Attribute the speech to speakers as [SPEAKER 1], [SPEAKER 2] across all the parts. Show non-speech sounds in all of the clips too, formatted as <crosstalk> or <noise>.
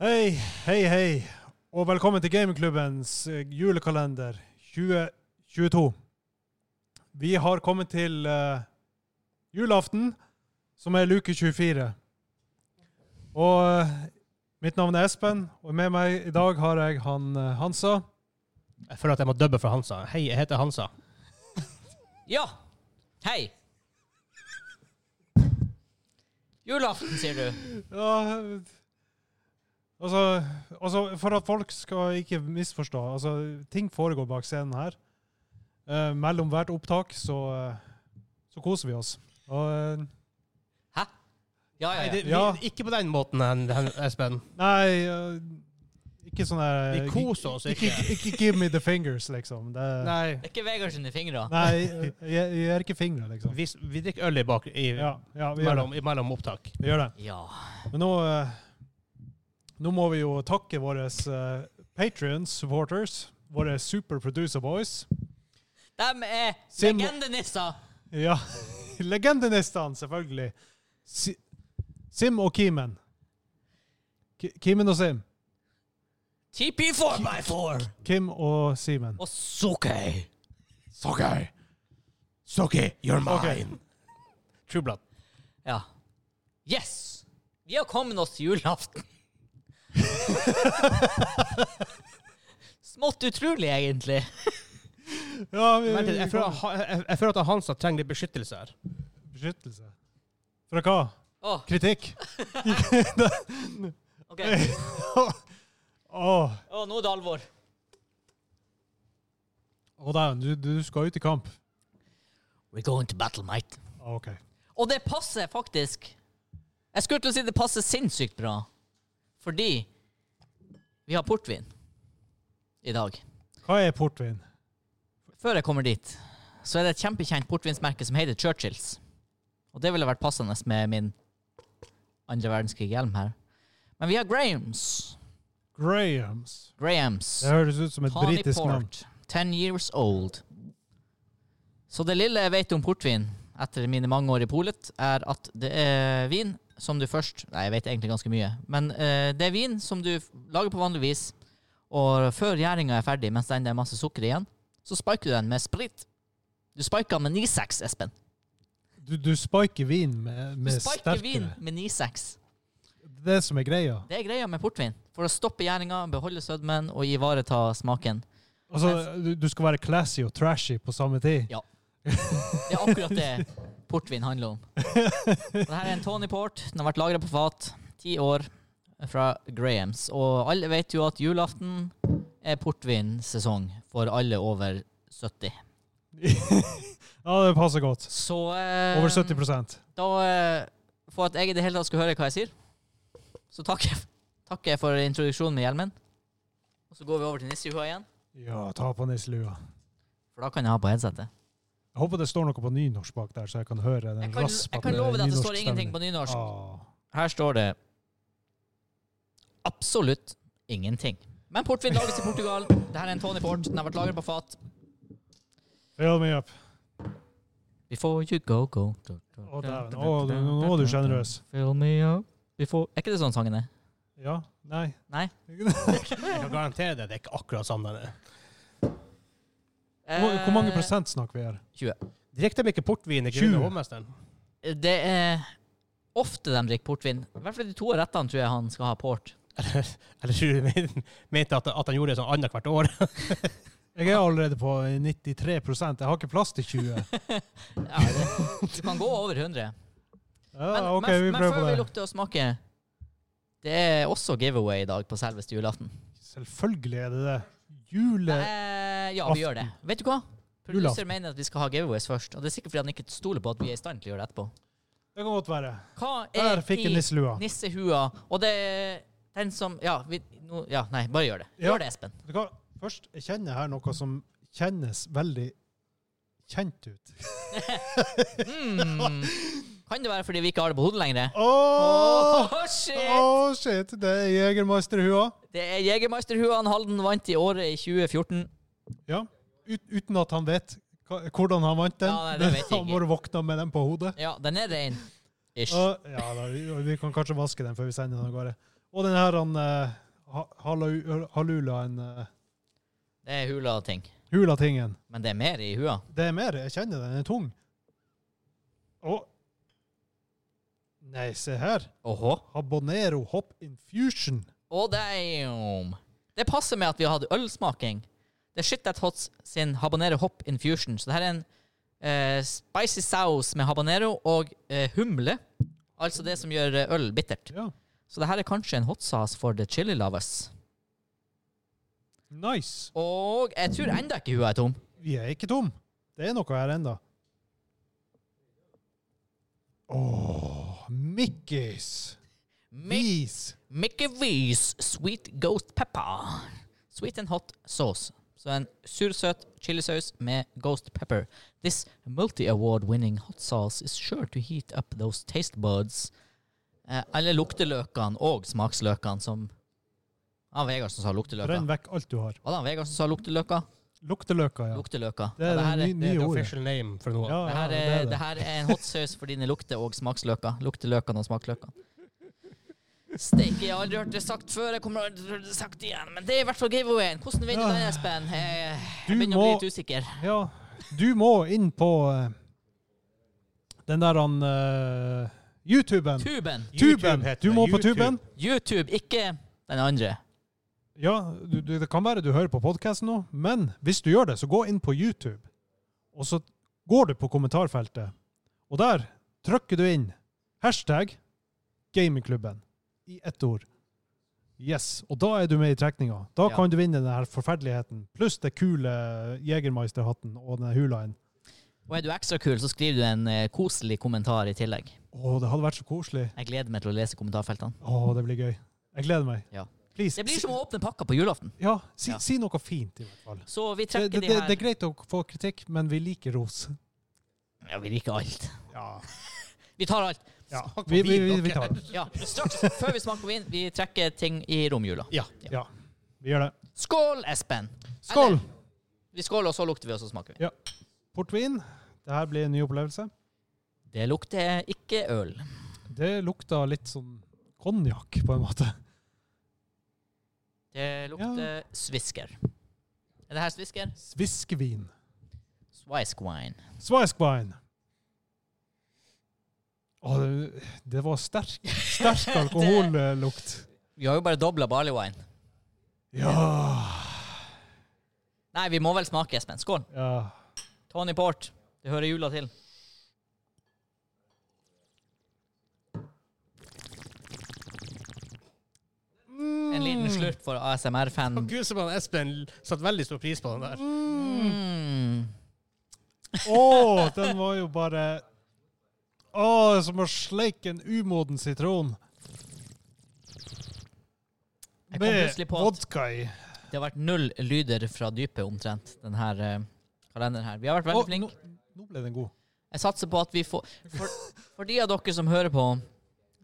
[SPEAKER 1] Hei, hei, hei, og velkommen til Gamingklubbens eh, julekalender 2022. Vi har kommet til eh, julaften, som er luke 24. Og eh, mitt navn er Espen, og med meg i dag har jeg han eh, Hansa.
[SPEAKER 2] Jeg føler at jeg må dubbe for Hansa. Hei, jeg heter Hansa.
[SPEAKER 3] Ja. Hei. Julaften, sier du.
[SPEAKER 1] Ja, eh, altså, altså, for at folk skal ikke misforstå, altså, ting foregår bak scenen her. Eh, mellom hvert opptak så, eh, så koser vi oss. Og... eh,
[SPEAKER 3] Hæ? Ja, ja,
[SPEAKER 2] Nei, det,
[SPEAKER 3] ja.
[SPEAKER 2] vi,
[SPEAKER 1] Ja.
[SPEAKER 2] Ikke på den måten, hen- hen- Espen.
[SPEAKER 1] Nei, øh, ikke sånn der
[SPEAKER 2] Vi koser oss
[SPEAKER 1] ikke,
[SPEAKER 2] ikke.
[SPEAKER 1] <laughs> ikke, ikke give me the fingers, liksom. Det,
[SPEAKER 2] Nei.
[SPEAKER 3] Det er ikke Vegard sine fingre.
[SPEAKER 1] Nei, øh, jeg, jeg er ikke fingre, liksom.
[SPEAKER 2] Vi, s- vi drikker øl i bak i,
[SPEAKER 1] Ja, ja vi, gjør det.
[SPEAKER 2] mellom, i mellom opptak.
[SPEAKER 1] vi gjør det.
[SPEAKER 3] Ja.
[SPEAKER 1] Men nå, øh, nå må vi jo takke våre uh, supporters, våre super producer boys.
[SPEAKER 3] De er
[SPEAKER 1] Sim-
[SPEAKER 3] legendenisser.
[SPEAKER 1] Ja, <laughs> legendenistene, selvfølgelig. Si, Sim og Kimen. Ki, Kimen og Sim.
[SPEAKER 3] TP 4x4.
[SPEAKER 1] Kim og Simen.
[SPEAKER 3] Og Sokei.
[SPEAKER 2] Sokke! Sokke, you're
[SPEAKER 1] mine.
[SPEAKER 2] True blood.
[SPEAKER 3] Ja. Yes. Vi har kommet oss til julaften. Smått utrolig, egentlig.
[SPEAKER 1] Ja, vi,
[SPEAKER 2] Vent litt, jeg føler, at
[SPEAKER 1] vi-
[SPEAKER 2] ha- jeg, jeg føler at Hansa trenger litt beskyttelse her.
[SPEAKER 1] Beskyttelse. Fra hva?
[SPEAKER 3] Åh,
[SPEAKER 1] Kritikk?
[SPEAKER 3] ok.
[SPEAKER 1] Åh,
[SPEAKER 3] Åh, nå er det alvor.
[SPEAKER 1] hold on, du, du skal ut i kamp.
[SPEAKER 3] We're going to battle, mate.
[SPEAKER 1] Ah, Ok.
[SPEAKER 3] Og det passer faktisk. Jeg skulle til å si det passer sinnssykt bra. Fordi vi har portvin i dag.
[SPEAKER 1] Hva er portvin?
[SPEAKER 3] Før jeg kommer dit, så er det et kjempekjent portvinsmerke som heter Churchills. Og det ville vært passende med min andre verdenskrig-hjelm her. Men vi har Grahams.
[SPEAKER 1] Grahams.
[SPEAKER 3] Grahams.
[SPEAKER 1] Det høres ut som et
[SPEAKER 3] Tawny
[SPEAKER 1] britisk navn.
[SPEAKER 3] Port. Ten years old. Så det lille jeg vet om portvin etter mine mange år i polet, er at det er vin som du først Nei, jeg vet egentlig ganske mye. Men eh, det er vin som du f- lager på vanlig vis, og før gjæringa er ferdig, mens den det er masse sukker igjen, så spiker du den med sprit. Du spiker den med 96, Espen.
[SPEAKER 1] Du, du spiker vin med,
[SPEAKER 3] Du
[SPEAKER 1] med
[SPEAKER 3] spiker
[SPEAKER 1] sterkere.
[SPEAKER 3] vin med 96.
[SPEAKER 1] Det er det som er greia.
[SPEAKER 3] Det er greia med portvin. For å stoppe gjæringa, beholde sødmen og ivareta smaken.
[SPEAKER 1] Altså, du, du skal være classy og trashy på samme tid.
[SPEAKER 3] Ja. Det er akkurat det portvin handler om. Det her er en Tony Port. Den har vært lagra på fat ti år fra Grahams. Og alle vet jo at julaften er portvinsesong for alle over 70.
[SPEAKER 1] <laughs> Ja, det passer godt.
[SPEAKER 3] Så eh,
[SPEAKER 1] Over 70
[SPEAKER 3] Da, eh, for at jeg i det hele tatt skal høre hva jeg sier, så takker jeg, takker jeg for introduksjonen med hjelmen. Og så går vi over til nissehua igjen,
[SPEAKER 1] Ja, ta på nisselua.
[SPEAKER 3] for da kan jeg ha på headsetet.
[SPEAKER 1] Jeg håper det står noe på nynorsk bak der, så jeg kan høre den
[SPEAKER 3] Jeg kan, jeg kan love deg at det står ingenting på nynorsk. Ah.
[SPEAKER 1] Ah.
[SPEAKER 3] Her står det absolutt ingenting. Men portvin lages i Portugal. Det her er en Tony Port. Den har vært lagret på fat.
[SPEAKER 1] Fill me up.
[SPEAKER 3] Before you go, go.
[SPEAKER 1] Å, dæven. Å, du- nå er du generøs.
[SPEAKER 3] Fill me up. Before Er ikke det sånn sangen er?
[SPEAKER 1] Ja? Nei?
[SPEAKER 3] Nei?
[SPEAKER 2] Jeg kan garantere det, det er ikke akkurat sånn den er.
[SPEAKER 1] Hvor, hvor
[SPEAKER 3] Eh.
[SPEAKER 1] mange prosent snakker vi her?
[SPEAKER 2] Drikker de ikke portvin i
[SPEAKER 1] 20.
[SPEAKER 2] Grune hovmesteren?
[SPEAKER 3] Eh, Det er ofte de drikker portvin. I hvert fall de to rettene tror jeg han skal ha port.
[SPEAKER 2] Eller tror du men- mente at, at han gjorde det sånn annethvert år?
[SPEAKER 1] Jeg er allerede på 93 Jeg har ikke plass til
[SPEAKER 3] <laughs>
[SPEAKER 1] 20.
[SPEAKER 3] Ja, det, du kan gå over 100. Men,
[SPEAKER 1] <laughs> Ja, OK,
[SPEAKER 3] men,
[SPEAKER 1] vi
[SPEAKER 3] men
[SPEAKER 1] prøver
[SPEAKER 3] før vi
[SPEAKER 1] på det.
[SPEAKER 3] lukter og smaker Det er også giveaway i dag på selveste julaften.
[SPEAKER 1] Selvfølgelig er det det. Jule...
[SPEAKER 3] Eh, ja,
[SPEAKER 1] aften.
[SPEAKER 3] vi gjør det. Vet du hva? Producer
[SPEAKER 1] Julaften.
[SPEAKER 3] mener at vi skal ha giveaways først, og det er sikkert fordi han ikke stoler på at vi er i stand til å gjøre det etterpå.
[SPEAKER 1] Det kan godt være.
[SPEAKER 3] Hva
[SPEAKER 1] Der
[SPEAKER 3] er
[SPEAKER 1] fikk jeg
[SPEAKER 3] i
[SPEAKER 1] nisselua.
[SPEAKER 3] nissehua? Og det er den som Ja, vi, nå- ja nei, bare gjør det.
[SPEAKER 1] Ja.
[SPEAKER 3] Gjør det, Espen.
[SPEAKER 1] Vet du hva? Først jeg kjenner her noe som kjennes veldig kjent ut.
[SPEAKER 3] <laughs> Mm. Kan det være fordi vi ikke har det på hodet lenger?
[SPEAKER 1] Åh,
[SPEAKER 3] Åh, shit!
[SPEAKER 1] Åh, shit! Det er Jegermeisterhua.
[SPEAKER 3] Det er Jegermeisterhuaen Halden vant i året i 2014.
[SPEAKER 1] Ja. Ut, uten at han vet hva- hvordan han vant den.
[SPEAKER 3] Ja, nei, det vet jeg
[SPEAKER 1] han
[SPEAKER 3] ikke.
[SPEAKER 1] bare våkna med den på hodet.
[SPEAKER 3] Ja, den er rein. Ish.
[SPEAKER 1] Og, ja, da, vi, vi kan kanskje vaske den før vi sender den av gårde. Og den her han, eh, ha- halu- halulaen, eh,
[SPEAKER 3] Det er hula og ting.
[SPEAKER 1] hula-tingen.
[SPEAKER 3] Men det er mer i hua.
[SPEAKER 1] Det er mer. Jeg kjenner den. Den er tung. Og Nei, se her.
[SPEAKER 3] Åhå.
[SPEAKER 1] Habanero Hop Infusion.
[SPEAKER 3] Å, damn! Det passer med at vi har hatt ølsmaking. Det er Shit That Hots sin habanero hop infusion. Så det her er en eh, spicy sauce med habanero og eh, humle. Altså det som gjør eh, øl bittert.
[SPEAKER 1] Ja.
[SPEAKER 3] Så det her er kanskje en hot sauce for the chili lovers.
[SPEAKER 1] Nice.
[SPEAKER 3] Og jeg tror enda ikke hun er tom.
[SPEAKER 1] Vi er ikke tom. Det er noe her enda. Åh, Mickey's.
[SPEAKER 3] Mi
[SPEAKER 1] Vis.
[SPEAKER 3] Mickey V's sweet ghost pepper. Sweet and hot sauce. Så en sursøt chilisaus med ghost pepper. This multi-award winning hot sauce is sure to heat up those taste buds. Eh, eller lukteløkene og smaksløkene som Han Vegard som sa lukteløker.
[SPEAKER 1] Brenn vekk alt du har.
[SPEAKER 3] Hva da, Vegard som sa lukteløker?
[SPEAKER 1] Lukteløka, ja.
[SPEAKER 3] Lukteløker.
[SPEAKER 1] Det er
[SPEAKER 3] Ja,
[SPEAKER 1] det
[SPEAKER 3] her
[SPEAKER 1] ny-
[SPEAKER 2] Det
[SPEAKER 1] nye
[SPEAKER 2] er the
[SPEAKER 1] ordet.
[SPEAKER 2] official name for noe.
[SPEAKER 1] Ja,
[SPEAKER 3] det
[SPEAKER 1] ja,
[SPEAKER 3] her
[SPEAKER 1] det
[SPEAKER 3] er,
[SPEAKER 1] er
[SPEAKER 3] det
[SPEAKER 1] det.
[SPEAKER 3] her er en hot saus for dine lukter- og smaksløker. Lukteløkene og smakløkene. Steike, jeg har aldri hørt det sagt før. Jeg kommer aldri til å høre det sagt igjen. Men det er i hvert fall giveawayen. Hvordan vinner du den, Espen? Jeg,
[SPEAKER 1] Du
[SPEAKER 3] jeg begynner å
[SPEAKER 1] må-
[SPEAKER 3] bli litt usikker.
[SPEAKER 1] Ja, du må inn på eh, den der han eh, YouTuben.
[SPEAKER 3] Tuben.
[SPEAKER 1] Tuben!
[SPEAKER 2] heter
[SPEAKER 1] Du
[SPEAKER 2] det.
[SPEAKER 1] må på
[SPEAKER 2] YouTube.
[SPEAKER 1] tuben.
[SPEAKER 3] YouTube, ikke den andre.
[SPEAKER 1] Ja, du, du, det kan være du hører på podkasten nå, men hvis du gjør det, så gå inn på YouTube, og så går du på kommentarfeltet, og der trykker du inn hashtag gamingklubben i ett ord. Yes, og da er du med i trekninga. Da
[SPEAKER 3] Ja.
[SPEAKER 1] kan du vinne denne her forferdeligheten, pluss det kule Jegermeisterhatten og denne hulaen.
[SPEAKER 3] Og er du ekstra kul, så skriver du en eh, koselig kommentar i tillegg.
[SPEAKER 1] Å, det hadde vært så koselig.
[SPEAKER 3] Jeg gleder meg til å lese kommentarfeltene.
[SPEAKER 1] Å, det blir gøy. Jeg gleder meg.
[SPEAKER 3] Ja.
[SPEAKER 1] Please.
[SPEAKER 3] Det blir
[SPEAKER 1] si-
[SPEAKER 3] som å åpne pakka på julaften.
[SPEAKER 1] Ja, si,
[SPEAKER 3] Ja.
[SPEAKER 1] si noe fint, i hvert fall.
[SPEAKER 3] Så vi
[SPEAKER 1] Det, det,
[SPEAKER 3] trekker
[SPEAKER 1] det, det
[SPEAKER 3] de
[SPEAKER 1] er greit å få kritikk, men vi liker ros.
[SPEAKER 3] her Ja, vi liker alt.
[SPEAKER 1] Ja.
[SPEAKER 3] Vi tar alt. <laughs>
[SPEAKER 1] Ja,
[SPEAKER 2] Smak på
[SPEAKER 1] vi, vi,
[SPEAKER 2] vin,
[SPEAKER 1] vi, vi
[SPEAKER 2] dere.
[SPEAKER 1] tar det.
[SPEAKER 3] Ja, straks før vi smaker på vin, vi trekker ting i romjula.
[SPEAKER 2] Ja.
[SPEAKER 1] Ja, vi gjør det.
[SPEAKER 3] Skål, Espen!
[SPEAKER 1] Skål!
[SPEAKER 3] Eller, vi skåler, og så lukter vi, og så smaker vi.
[SPEAKER 1] Portvin. Det her blir en ny opplevelse.
[SPEAKER 3] Det lukter ikke øl.
[SPEAKER 1] Det lukta litt sånn konjakk, på en måte.
[SPEAKER 3] Det lukter svisker. Er det her svisker?
[SPEAKER 1] Sviskvin.
[SPEAKER 3] Swisk wine.
[SPEAKER 1] Sveiskbein. Å, det, det var sterk,
[SPEAKER 3] <laughs>
[SPEAKER 1] sterk alkohollukt.
[SPEAKER 3] Vi har jo bare dobla barley wine.
[SPEAKER 1] Ja.
[SPEAKER 3] Nei, vi må vel smake, Espen. Skål.
[SPEAKER 1] ja.
[SPEAKER 3] Tony Port. Det hører jula til.
[SPEAKER 1] Mm.
[SPEAKER 3] En liten slurk for ASMR-fan.
[SPEAKER 2] Og Gud, som han Espen satte veldig stor pris på den der.
[SPEAKER 3] Mm.
[SPEAKER 1] Å, den var jo bare Å, det er som å sleike en umoden sitron.
[SPEAKER 3] Jeg kom
[SPEAKER 1] Med
[SPEAKER 3] plutselig på at
[SPEAKER 1] vodka i.
[SPEAKER 3] det har vært null lyder fra dypet omtrent, denne kalenderen her. Vi har
[SPEAKER 1] Å,
[SPEAKER 3] vært veldig flinke.
[SPEAKER 1] nå, nå ble den god.
[SPEAKER 3] Jeg satser på at vi får For, for de av dere som hører på,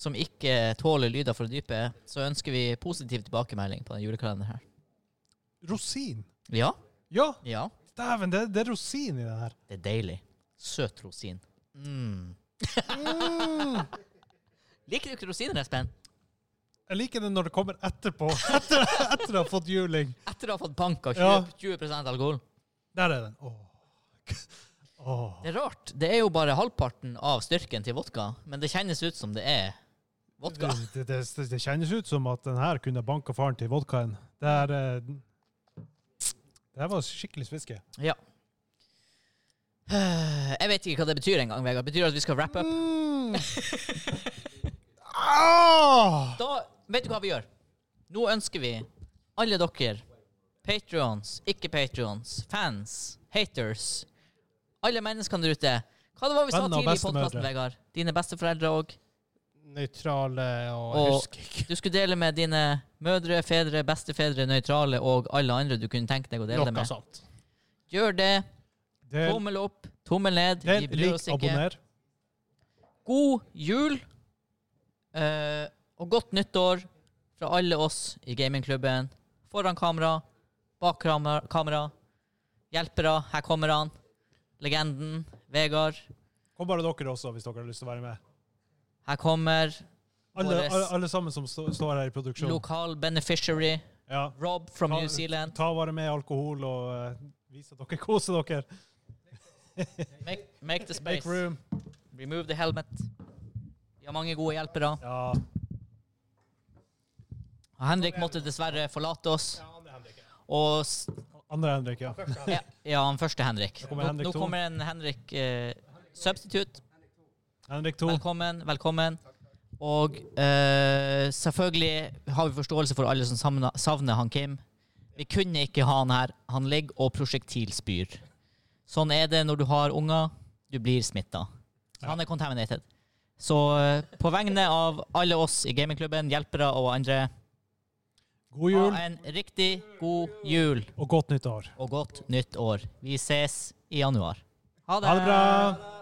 [SPEAKER 3] som ikke tåler lyder fra dypet, så ønsker vi positiv tilbakemelding på den julekalenderen her.
[SPEAKER 1] Rosin.
[SPEAKER 3] Ja.
[SPEAKER 1] Ja,
[SPEAKER 3] Ja.
[SPEAKER 1] Dæven, det, det er rosin i den her.
[SPEAKER 3] Det er deilig. Søt rosin. Mm. Liker du ikke rosiner, Espen?
[SPEAKER 1] Jeg liker det når det kommer etterpå. <laughs> Etter, etter å ha fått juling.
[SPEAKER 3] Etter å ha fått bank av 20,
[SPEAKER 1] Ja.
[SPEAKER 3] 20 alkohol.
[SPEAKER 1] Der er den. Åh. Åh.
[SPEAKER 3] Det er rart. Det er jo bare halvparten av styrken til vodka, men det kjennes ut som det er
[SPEAKER 1] Det,
[SPEAKER 3] vodka.
[SPEAKER 1] det, det, det kjennes ut som at den her kunne banka faren til vodkaen. Det er eh, Det her var skikkelig sviske.
[SPEAKER 3] Ja. <sighs> Jeg vet ikke hva det betyr engang, Vegard. Betyr det at vi skal wrap up?
[SPEAKER 1] Mm. Ah!
[SPEAKER 3] Da vet du hva vi gjør. Nå ønsker vi alle dere, patrions, ikke patrions, fans, haters, alle menneskene der ute Hva det var vi sa
[SPEAKER 1] Venner og
[SPEAKER 3] tidlig i
[SPEAKER 1] bestemødre.
[SPEAKER 3] podkasten, Vegard? Dine besteforeldre og
[SPEAKER 2] Nøytrale og,
[SPEAKER 3] Og-
[SPEAKER 2] jeg husker ikke.
[SPEAKER 3] Du skulle dele med dine mødre, fedre, bestefedre, nøytrale og alle andre du kunne tenke deg å dele det
[SPEAKER 2] Noe
[SPEAKER 1] altså.
[SPEAKER 3] med.
[SPEAKER 2] sånt.
[SPEAKER 3] Gjør det.
[SPEAKER 1] Det er
[SPEAKER 3] Tommel opp, tommel ned. Vi bryr
[SPEAKER 1] lik
[SPEAKER 3] oss ikke.
[SPEAKER 1] abonner.
[SPEAKER 3] God jul eh, og godt nyttår fra alle oss i gamingklubben. Foran kamera, bak kamera, kamera. hjelpere, her kommer han. Legenden, Vegard.
[SPEAKER 1] Kom bare dere også, hvis dere har lyst til å være med.
[SPEAKER 3] Her kommer
[SPEAKER 1] Alle,
[SPEAKER 3] Våres-
[SPEAKER 1] alle, alle sammen som stå- står her i produksjonen.
[SPEAKER 3] Lokal beneficiary.
[SPEAKER 1] Ja.
[SPEAKER 3] Rob from
[SPEAKER 1] Ta-
[SPEAKER 3] New Zealand.
[SPEAKER 1] Ta bare med alkohol og eh, vis at dere koser dere.
[SPEAKER 3] Make, make the
[SPEAKER 1] Make
[SPEAKER 3] space.
[SPEAKER 1] room.
[SPEAKER 3] Remove the helmet. Vi har mange gode hjelpere.
[SPEAKER 1] Ja.
[SPEAKER 3] Og Henrik måtte dessverre forlate oss.
[SPEAKER 2] andre Henrik.
[SPEAKER 3] Og s-
[SPEAKER 1] Andre Henrik, ja.
[SPEAKER 3] ja, ja, han første Henrik.
[SPEAKER 1] Nå
[SPEAKER 3] Nå,
[SPEAKER 1] kommer Henrik
[SPEAKER 3] nå
[SPEAKER 1] to.
[SPEAKER 3] kommer en Henrik eh, substitute.
[SPEAKER 1] Henrik 2.
[SPEAKER 3] Velkommen, velkommen. Og eh, selvfølgelig har vi forståelse for alle som savner, savner han Kim. Vi kunne ikke ha han her. Han ligger og prosjektilspyr. Sånn er det når du har unger. Du blir smitta. Han er contaminated. Så eh, på vegne av alle oss i gamingklubben, hjelpere og andre,
[SPEAKER 1] God
[SPEAKER 3] ha
[SPEAKER 1] jul
[SPEAKER 3] en riktig god jul
[SPEAKER 1] og godt nytt år.
[SPEAKER 3] og godt nytt år. Vi ses i januar.
[SPEAKER 1] Ha det bra!